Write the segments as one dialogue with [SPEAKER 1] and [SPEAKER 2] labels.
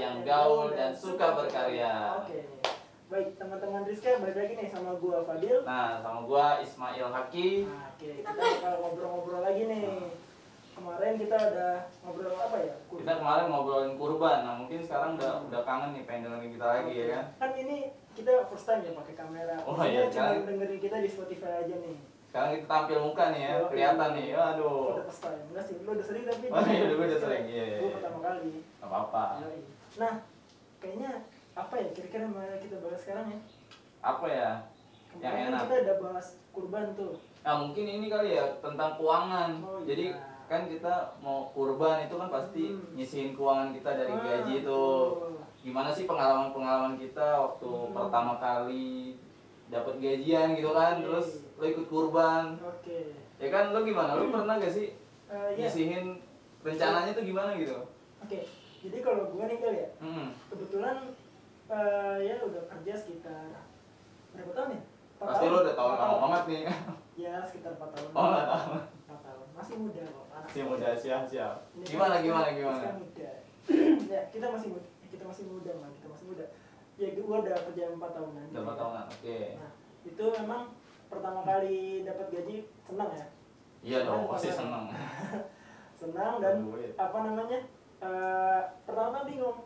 [SPEAKER 1] yang gaul dan suka berkarya.
[SPEAKER 2] Oke. Baik, teman-teman Rizka, balik lagi nih sama gua Fadil.
[SPEAKER 1] Nah, sama gua Ismail Haki.
[SPEAKER 2] Nah, oke, kita bakal ngobrol-ngobrol lagi nih. Kemarin kita udah ngobrol apa ya? Kurban.
[SPEAKER 1] Kita kemarin ngobrolin kurban. Nah, mungkin sekarang udah udah kangen nih pengen dengerin kita lagi ya kan.
[SPEAKER 2] Kan ini kita first time ya pakai kamera.
[SPEAKER 1] Oh,
[SPEAKER 2] Maksudnya
[SPEAKER 1] iya,
[SPEAKER 2] cuma
[SPEAKER 1] kan?
[SPEAKER 2] dengerin kita di Spotify aja nih.
[SPEAKER 1] Sekarang kita tampil muka nih ya,
[SPEAKER 2] Oke.
[SPEAKER 1] kelihatan nih. Aduh.
[SPEAKER 2] Udah first time. Enggak sih, lu udah sering tapi.
[SPEAKER 1] Oh, iya, udah- udah sering. Iya, iya,
[SPEAKER 2] Gua
[SPEAKER 1] iya.
[SPEAKER 2] pertama kali.
[SPEAKER 1] Gak apa-apa.
[SPEAKER 2] Yoi. Nah, kayaknya apa ya kira-kira yang mau kita bahas sekarang ya?
[SPEAKER 1] Apa ya? Yang
[SPEAKER 2] Kemarin
[SPEAKER 1] enak.
[SPEAKER 2] kita udah bahas kurban tuh.
[SPEAKER 1] Nah, mungkin ini kali ya tentang keuangan.
[SPEAKER 2] Oh, iya.
[SPEAKER 1] Jadi kan kita mau kurban itu kan pasti
[SPEAKER 2] Hmm.
[SPEAKER 1] nyisihin keuangan kita dari
[SPEAKER 2] Ah,
[SPEAKER 1] gaji itu.
[SPEAKER 2] betul.
[SPEAKER 1] Gimana sih pengalaman-pengalaman kita waktu
[SPEAKER 2] Hmm.
[SPEAKER 1] pertama kali dapat gajian gitu kan,
[SPEAKER 2] Oke.
[SPEAKER 1] terus lo ikut kurban.
[SPEAKER 2] Oke.
[SPEAKER 1] Ya kan lo gimana? Lo pernah gak Iya sih
[SPEAKER 2] Eh, ya.
[SPEAKER 1] nyisihin rencananya tuh gimana gitu?
[SPEAKER 2] Oke. Jadi kalau gua nih kali ya,
[SPEAKER 1] Hmm.
[SPEAKER 2] kebetulan eh, ya udah kerja sekitar berapa tahun ya? Empat
[SPEAKER 1] Pasti lo udah tahu
[SPEAKER 2] Empat
[SPEAKER 1] lama banget nih.
[SPEAKER 2] Ya sekitar 4 tahun.
[SPEAKER 1] Oh, nggak tahu.
[SPEAKER 2] Empat tahun. Masih muda kok. anak
[SPEAKER 1] Si muda siap siap.
[SPEAKER 2] Ini
[SPEAKER 1] Gimana
[SPEAKER 2] kan
[SPEAKER 1] gimana
[SPEAKER 2] kita-
[SPEAKER 1] gimana?
[SPEAKER 2] kita muda. ya kita masih muda. Kita masih muda man. Kita masih muda. Ya gua udah kerja 4 tahunan.
[SPEAKER 1] Udah berapa tahunan? Oke.
[SPEAKER 2] Nah itu memang pertama kali dapat gaji senang ya.
[SPEAKER 1] Iya dong,
[SPEAKER 2] Senang,
[SPEAKER 1] pasti
[SPEAKER 2] senang.
[SPEAKER 1] seneng.
[SPEAKER 2] senang dan
[SPEAKER 1] Duit.
[SPEAKER 2] apa namanya eh, pertama bingung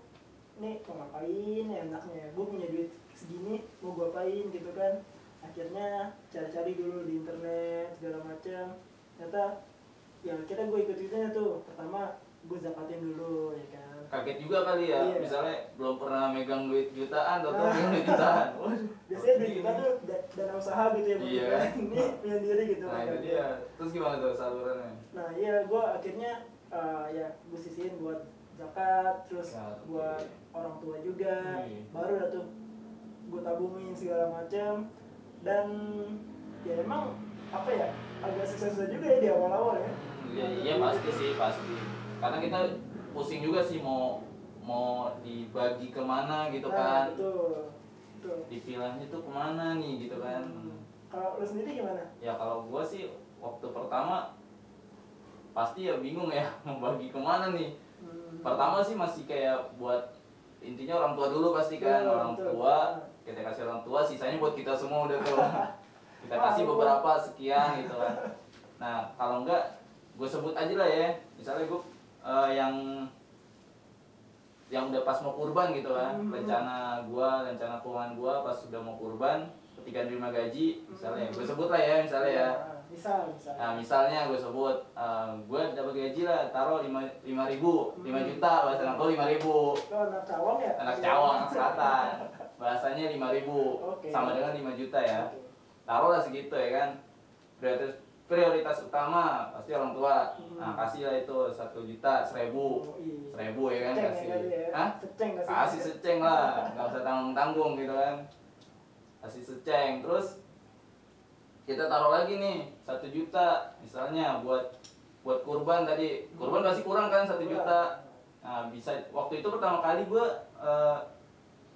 [SPEAKER 2] nih mau ngapain ya enaknya gue punya duit segini mau gue apain gitu kan akhirnya cari-cari dulu di internet segala macam ternyata ya akhirnya gue ikut ikutannya tuh pertama gue zakatin dulu ya kan
[SPEAKER 1] Kaget juga kali ya,
[SPEAKER 2] Iya. Ah.
[SPEAKER 1] misalnya belum pernah megang duit jutaan, atau megang duit jutaan. Waduh,
[SPEAKER 2] biasanya duit
[SPEAKER 1] gini.
[SPEAKER 2] kita tuh da- dana usaha gitu ya Bu.
[SPEAKER 1] Iya.
[SPEAKER 2] ini punya diri gitu
[SPEAKER 1] Nah itu
[SPEAKER 2] makanya.
[SPEAKER 1] dia. Terus gimana tuh salurannya?
[SPEAKER 2] Nah iya gue akhirnya eh, ya gue sisihin buat zakat terus
[SPEAKER 1] Zakat,
[SPEAKER 2] buat
[SPEAKER 1] Ah, oke.
[SPEAKER 2] orang tua juga
[SPEAKER 1] Iya.
[SPEAKER 2] baru dah tuh gue tabungin segala macam dan ya emang apa ya agak susah-susah juga ya di awal-awal ya
[SPEAKER 1] Iya, iya pasti sih pasti. Karena kita pusing juga sih mau mau dibagi kemana gitu
[SPEAKER 2] nah,
[SPEAKER 1] kan.
[SPEAKER 2] betul betul
[SPEAKER 1] Dipilahnya tuh kemana nih gitu kan.
[SPEAKER 2] Hmm. kalau lu sendiri gimana
[SPEAKER 1] Ya kalau gua sih waktu pertama pasti ya bingung ya mau bagi kemana nih.
[SPEAKER 2] Hmm.
[SPEAKER 1] pertama sih masih kayak buat intinya orang tua dulu pasti kan
[SPEAKER 2] Betul,
[SPEAKER 1] orang
[SPEAKER 2] Iya, betul.
[SPEAKER 1] tua kita kasih orang tua sisanya buat kita semua udah tuh kita
[SPEAKER 2] Wah,
[SPEAKER 1] kasih
[SPEAKER 2] ampun.
[SPEAKER 1] beberapa sekian gitu kan nah kalau enggak gue sebut aja lah ya misalnya gue yang yang udah pas mau kurban gitu kan
[SPEAKER 2] Hmm.
[SPEAKER 1] rencana gua rencana keuangan gua pas sudah mau kurban ketika nerima gaji misalnya
[SPEAKER 2] Hmm.
[SPEAKER 1] gue sebut lah ya misalnya ya
[SPEAKER 2] misal misal
[SPEAKER 1] Nah, misalnya gue sebut, gue dapat gaji lah, taruh lima lima ribu,
[SPEAKER 2] Hmm.
[SPEAKER 1] lima juta, bahasa anak gue lima ribu,
[SPEAKER 2] lu anak cawang ya
[SPEAKER 1] anak cawang, anak selatan, bahasanya lima ribu,
[SPEAKER 2] Oke.
[SPEAKER 1] sama dengan lima juta ya,
[SPEAKER 2] Oke.
[SPEAKER 1] taruhlah segitu ya kan, prioritas prioritas utama pasti orang tua, nah
[SPEAKER 2] Hmm.
[SPEAKER 1] kasih lah itu satu juta, seribu,
[SPEAKER 2] Oh, iya.
[SPEAKER 1] seribu ya kan
[SPEAKER 2] Seceng
[SPEAKER 1] kasih,
[SPEAKER 2] ya kali ya.
[SPEAKER 1] Hah?
[SPEAKER 2] Seceng kasih.
[SPEAKER 1] kasih seceng lah nggak usah tanggung tanggung gitu kan kasih seceng terus kita taruh lagi nih satu juta misalnya buat buat kurban tadi kurban pasti kurang kan satu
[SPEAKER 2] Kurang.
[SPEAKER 1] juta nah bisa waktu itu pertama kali gue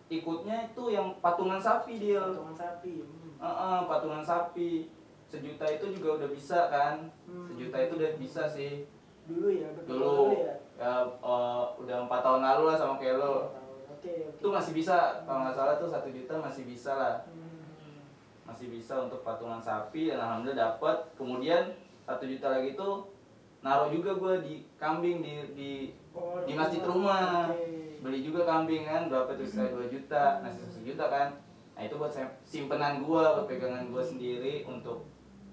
[SPEAKER 1] ikutnya itu yang patungan sapi dia
[SPEAKER 2] Potongan sapi. Hmm.
[SPEAKER 1] patungan sapi sejuta itu juga udah bisa kan
[SPEAKER 2] Hmm.
[SPEAKER 1] sejuta itu udah bisa sih
[SPEAKER 2] Dulu ya, betul
[SPEAKER 1] dulu
[SPEAKER 2] ya.
[SPEAKER 1] ya, eh, udah empat tahun lalu lah sama kayak lo
[SPEAKER 2] Oke, oke.
[SPEAKER 1] itu masih bisa kalau nggak salah tuh satu juta masih bisa lah
[SPEAKER 2] Hmm.
[SPEAKER 1] masih bisa untuk patungan sapi dan alhamdulillah dapat kemudian satu juta lagi itu naruh juga gue di kambing di di
[SPEAKER 2] Oh,
[SPEAKER 1] di masjid rumah
[SPEAKER 2] Oke.
[SPEAKER 1] beli juga kambing kan berapa tuh sekitar dua juta nasi satu juta kan nah itu buat sem- simpenan gue buat pegangan gue sendiri untuk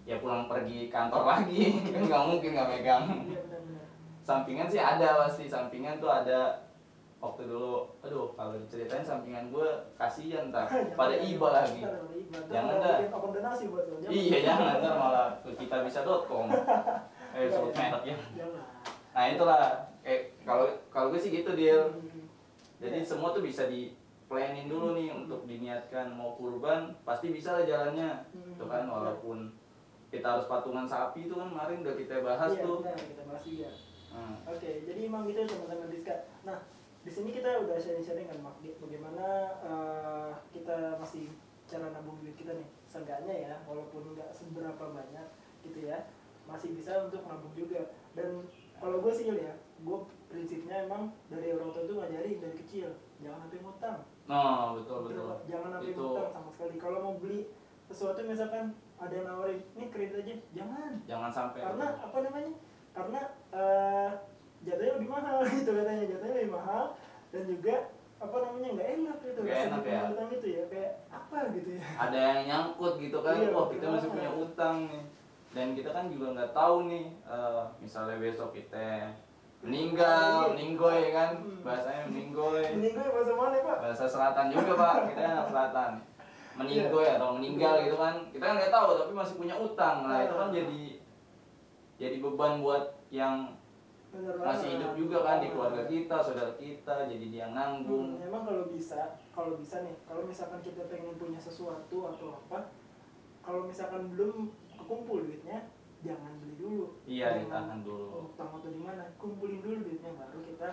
[SPEAKER 1] ya pulang pergi kantor lagi kan nggak mungkin nggak pegang
[SPEAKER 2] Iya, benar-benar.
[SPEAKER 1] sampingan sih ada pasti sampingan tuh ada waktu dulu aduh kalau diceritain sampingan gue kasihan tak pada
[SPEAKER 2] Jangan-
[SPEAKER 1] iba lagi
[SPEAKER 2] Ntar pada iba. Ntar
[SPEAKER 1] Jangan
[SPEAKER 2] mau
[SPEAKER 1] dah.
[SPEAKER 2] bikin akun donasi buat lo, jangan.
[SPEAKER 1] iya jangan ntar malah ke kita bisa.com eh
[SPEAKER 2] Iya,
[SPEAKER 1] sebut
[SPEAKER 2] iya.
[SPEAKER 1] merek ya
[SPEAKER 2] Jangan.
[SPEAKER 1] nah itulah eh kalau kalau gue sih gitu deal
[SPEAKER 2] Hmm.
[SPEAKER 1] jadi
[SPEAKER 2] Iya. Hmm.
[SPEAKER 1] semua tuh bisa di planning dulu nih untuk diniatkan mau kurban pasti bisa lah jalannya
[SPEAKER 2] Hmm.
[SPEAKER 1] tuh kan walaupun kita harus patungan sapi itu kan kemarin udah kita bahas
[SPEAKER 2] Iya,
[SPEAKER 1] tuh
[SPEAKER 2] benar, kita bahas juga.
[SPEAKER 1] Hmm.
[SPEAKER 2] Oke, jadi emang gitu teman-teman Diska. Nah, di sini kita udah sharing-sharing kan Mak, di- bagaimana eh, kita masih cara nabung duit kita nih. Seenggaknya ya, walaupun nggak seberapa banyak gitu ya, masih bisa untuk nabung juga. Dan kalau gue sih Yul, ya, gue prinsipnya emang dari orang tua tuh ngajari dari kecil. jangan sampai ngutang Gitu
[SPEAKER 1] Nah, betul betul.
[SPEAKER 2] jangan sampai
[SPEAKER 1] Itu
[SPEAKER 2] ngutang sama sekali kalau mau beli sesuatu misalkan ada yang nawarin nih kredit aja jangan
[SPEAKER 1] jangan sampai.
[SPEAKER 2] karena apa namanya karena eh, jatuhnya lebih mahal gitu katanya jatuhnya lebih mahal dan juga apa namanya nggak enak gitu
[SPEAKER 1] Nggak
[SPEAKER 2] rasa
[SPEAKER 1] enak
[SPEAKER 2] punya
[SPEAKER 1] ya.
[SPEAKER 2] utang gitu ya kayak apa gitu ya
[SPEAKER 1] ada yang nyangkut gitu kan
[SPEAKER 2] Iya,
[SPEAKER 1] wah kita masih
[SPEAKER 2] betul.
[SPEAKER 1] punya utang nih dan kita kan juga nggak tahu nih eh, misalnya besok kita meninggal
[SPEAKER 2] Iya.
[SPEAKER 1] meninggoy kan
[SPEAKER 2] Hmm. Iya.
[SPEAKER 1] bahasanya meninggoy
[SPEAKER 2] mending gue bahasa mana pak
[SPEAKER 1] bahasa selatan juga pak kita anak selatan meninggoy
[SPEAKER 2] Iya.
[SPEAKER 1] atau meninggal gitu kan kita kan nggak tahu tapi masih punya utang lah itu kan
[SPEAKER 2] Iya.
[SPEAKER 1] jadi jadi beban buat yang
[SPEAKER 2] Bener
[SPEAKER 1] masih
[SPEAKER 2] banget.
[SPEAKER 1] hidup juga kan di keluarga
[SPEAKER 2] Hmm.
[SPEAKER 1] kita saudara kita jadi dia yang nanggung
[SPEAKER 2] Hmm, emang kalau bisa, kalau bisa nih, kalau misalkan kita pengen punya sesuatu atau apa, kalau misalkan belum kekumpul duitnya, jangan beli dulu.
[SPEAKER 1] iya
[SPEAKER 2] Jangan
[SPEAKER 1] ditahan dulu
[SPEAKER 2] utang atau di mana, kumpulin dulu duitnya baru kita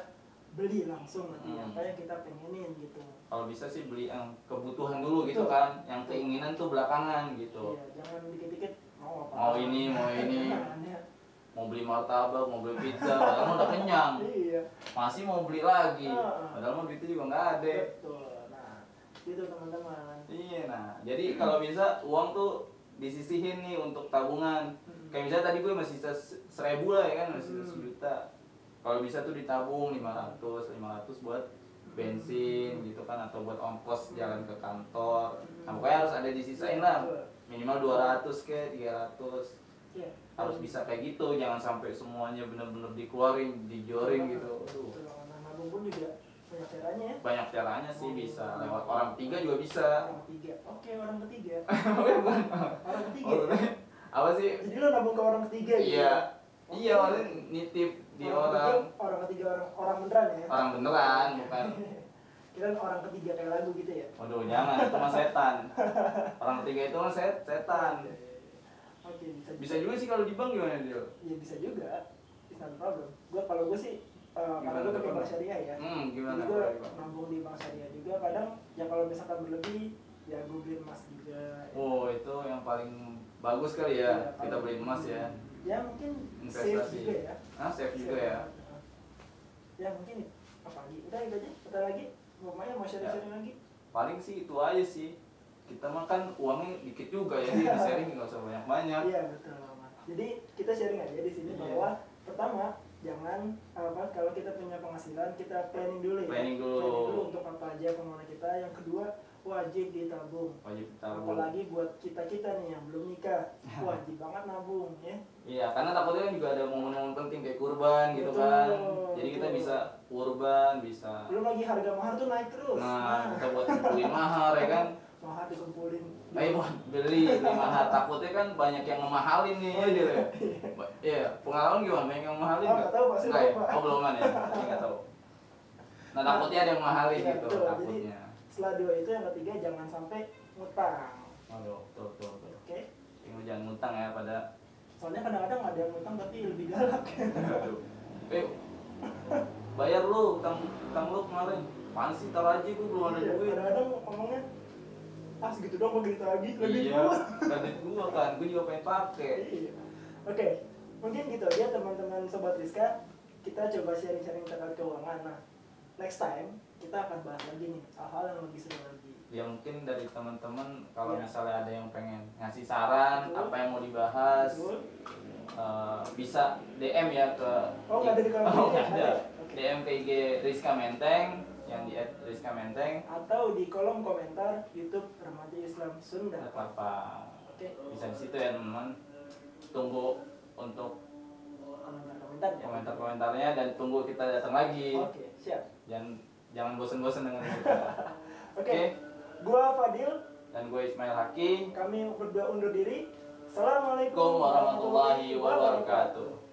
[SPEAKER 2] beli langsung nanti
[SPEAKER 1] Hmm.
[SPEAKER 2] apa yang kita pengenin gitu.
[SPEAKER 1] kalau bisa sih beli yang kebutuhan dulu gitu
[SPEAKER 2] Betul.
[SPEAKER 1] kan yang keinginan tuh belakangan gitu
[SPEAKER 2] Iya, jangan dikit-dikit mau apa.
[SPEAKER 1] mau ini mau ini
[SPEAKER 2] Jangan, ya.
[SPEAKER 1] mau beli martabak mau beli pizza padahal mah udah kenyang
[SPEAKER 2] Iya.
[SPEAKER 1] masih mau beli lagi
[SPEAKER 2] Ah.
[SPEAKER 1] padahal mah duitnya juga nggak ada
[SPEAKER 2] Betul. Nah, gitu teman-teman.
[SPEAKER 1] iya nah jadi kalau bisa uang tuh disisihin nih untuk tabungan
[SPEAKER 2] Hmm.
[SPEAKER 1] kayak misalnya tadi gue masih sisa se- seribu lah ya kan masih sisa
[SPEAKER 2] Hmm.
[SPEAKER 1] sejuta kalau bisa tuh ditabung 500 500 buat
[SPEAKER 2] Hmm.
[SPEAKER 1] bensin gitu kan atau buat ongkos jalan ke kantor nah pokoknya harus ada disisain lah
[SPEAKER 2] Betul.
[SPEAKER 1] minimal 200 ke 300
[SPEAKER 2] Iya.
[SPEAKER 1] harus bisa kayak gitu jangan sampai semuanya bener-bener dikeluarin dijorin gitu Aduh,
[SPEAKER 2] Betul. Nah, nabung pun juga banyak caranya ya.
[SPEAKER 1] banyak caranya sih bisa lewat orang tiga juga bisa
[SPEAKER 2] orang ketiga oke orang ketiga orang ketiga
[SPEAKER 1] Oh, apa sih
[SPEAKER 2] jadi lo nabung ke orang ketiga gitu?
[SPEAKER 1] iya
[SPEAKER 2] Oke.
[SPEAKER 1] iya maksudnya nitip di orang
[SPEAKER 2] ketiga, orang ketiga orang orang beneran ya
[SPEAKER 1] orang beneran bukan
[SPEAKER 2] kira orang ketiga kayak lagu gitu ya
[SPEAKER 1] waduh jangan itu mah setan orang ketiga itu mah set setan
[SPEAKER 2] Iya, oke bisa
[SPEAKER 1] bisa juga sih kalau di bank gimana dia
[SPEAKER 2] ya bisa juga it's not a problem gua kalau gua sih eh, karena
[SPEAKER 1] Gimana
[SPEAKER 2] gua
[SPEAKER 1] tuh,
[SPEAKER 2] pakai
[SPEAKER 1] Bang?
[SPEAKER 2] bank syariah ya
[SPEAKER 1] hmm gimana
[SPEAKER 2] jadi gua
[SPEAKER 1] kalau di bank?
[SPEAKER 2] nabung di bank syariah juga kadang ya kalau misalkan berlebih ya gua beli emas juga
[SPEAKER 1] oh itu yang paling bagus kali ya kita
[SPEAKER 2] kalau-
[SPEAKER 1] beli emas ya
[SPEAKER 2] ya mungkin Iya, safe
[SPEAKER 1] investasi
[SPEAKER 2] juga ya
[SPEAKER 1] ah safe juga ya
[SPEAKER 2] Ya mungkin apa lagi? Udah itu aja. Bentar lagi mau main mau
[SPEAKER 1] Ya.
[SPEAKER 2] sharing-sharing lagi.
[SPEAKER 1] paling sih itu aja sih kita makan uangnya dikit juga ya jadi sharing nggak usah banyak banyak
[SPEAKER 2] Iya betul. Mas. Jadi kita sharing aja di sini
[SPEAKER 1] Iya.
[SPEAKER 2] bahwa pertama jangan apa kalau kita punya penghasilan kita planning dulu ya.
[SPEAKER 1] Planning dulu.
[SPEAKER 2] untuk apa aja pengeluaran kita. Yang kedua wajib ditabung.
[SPEAKER 1] wajib tabung
[SPEAKER 2] Iya. Apalagi Iya, buat kita kita nih yang belum nikah wajib banget nabung ya.
[SPEAKER 1] iya karena takutnya kan juga ada momen-momen penting kayak kurban gitu kan
[SPEAKER 2] Betul,
[SPEAKER 1] jadi kita
[SPEAKER 2] betul.
[SPEAKER 1] bisa kurban bisa
[SPEAKER 2] Belum lagi harga mahar tuh naik terus.
[SPEAKER 1] nah kita buat kumpulin mahar ya kan
[SPEAKER 2] mahar dikumpulin.
[SPEAKER 1] Ayo buat beli beli mahar takutnya kan banyak yang ngemahalin nih ya gitu ya Ba- iya pengalaman gimana banyak yang ngemahalin
[SPEAKER 2] Ah,
[SPEAKER 1] nggak
[SPEAKER 2] Oh, iya. nggak tahu, Pak. Saya
[SPEAKER 1] Nggak ya?
[SPEAKER 2] lupa.
[SPEAKER 1] oh belum ada ya Tadi nggak tahu nah takutnya ada yang mahalin
[SPEAKER 2] Iya,
[SPEAKER 1] gitu
[SPEAKER 2] betul. Jadi-
[SPEAKER 1] takutnya
[SPEAKER 2] Setelah dua itu yang ketiga jangan sampai ngutang.
[SPEAKER 1] Waduh, betul, betul, betul.
[SPEAKER 2] Oke.
[SPEAKER 1] Tinggal jangan ngutang ya pada
[SPEAKER 2] soalnya kadang-kadang ada yang ngutang tapi lebih galak
[SPEAKER 1] Aduh. Eh, bayar lu utang utang lu kemarin. Apaan sih tar aja gua belum ada
[SPEAKER 2] Iya,
[SPEAKER 1] duit.
[SPEAKER 2] kadang-kadang ngomongnya ah segitu dong mau gitu lagi lebih
[SPEAKER 1] Iya,
[SPEAKER 2] dulu."
[SPEAKER 1] kredit gua kan, gua juga pengen pakai.
[SPEAKER 2] Iya. oke mungkin gitu aja teman-teman sobat Rizka kita coba sharing-sharing terkait keuangan nah next time kita akan bahas lagi nih hal-hal yang lebih seru lagi
[SPEAKER 1] Ya mungkin dari teman-teman kalau
[SPEAKER 2] Iya.
[SPEAKER 1] misalnya ada yang pengen ngasih saran
[SPEAKER 2] Betul.
[SPEAKER 1] apa yang mau dibahas
[SPEAKER 2] Betul?
[SPEAKER 1] eh, bisa DM ya ke
[SPEAKER 2] Oh, nggak ada di kolom
[SPEAKER 1] Oh,
[SPEAKER 2] ini,
[SPEAKER 1] nggak
[SPEAKER 2] ada
[SPEAKER 1] ada.
[SPEAKER 2] ya? Oke.
[SPEAKER 1] DM ke IG Rizka Menteng yang di at Rizka Menteng
[SPEAKER 2] atau di kolom komentar YouTube Remaja Islam Sunda
[SPEAKER 1] nggak apa-apa
[SPEAKER 2] oke
[SPEAKER 1] bisa di situ ya teman-teman tunggu untuk
[SPEAKER 2] komentar-komentar ya
[SPEAKER 1] komentar-komentarnya dan tunggu kita datang lagi.
[SPEAKER 2] oke siap
[SPEAKER 1] Jangan jangan bosen-bosen dengan kita.
[SPEAKER 2] oke
[SPEAKER 1] Oke.
[SPEAKER 2] gua Fadil
[SPEAKER 1] Dan gue Ismail Haki.
[SPEAKER 2] kami berdua undur diri. Assalamualaikum
[SPEAKER 1] Assalamualaikum warahmatullahi wabarakatuh.
[SPEAKER 2] Nah,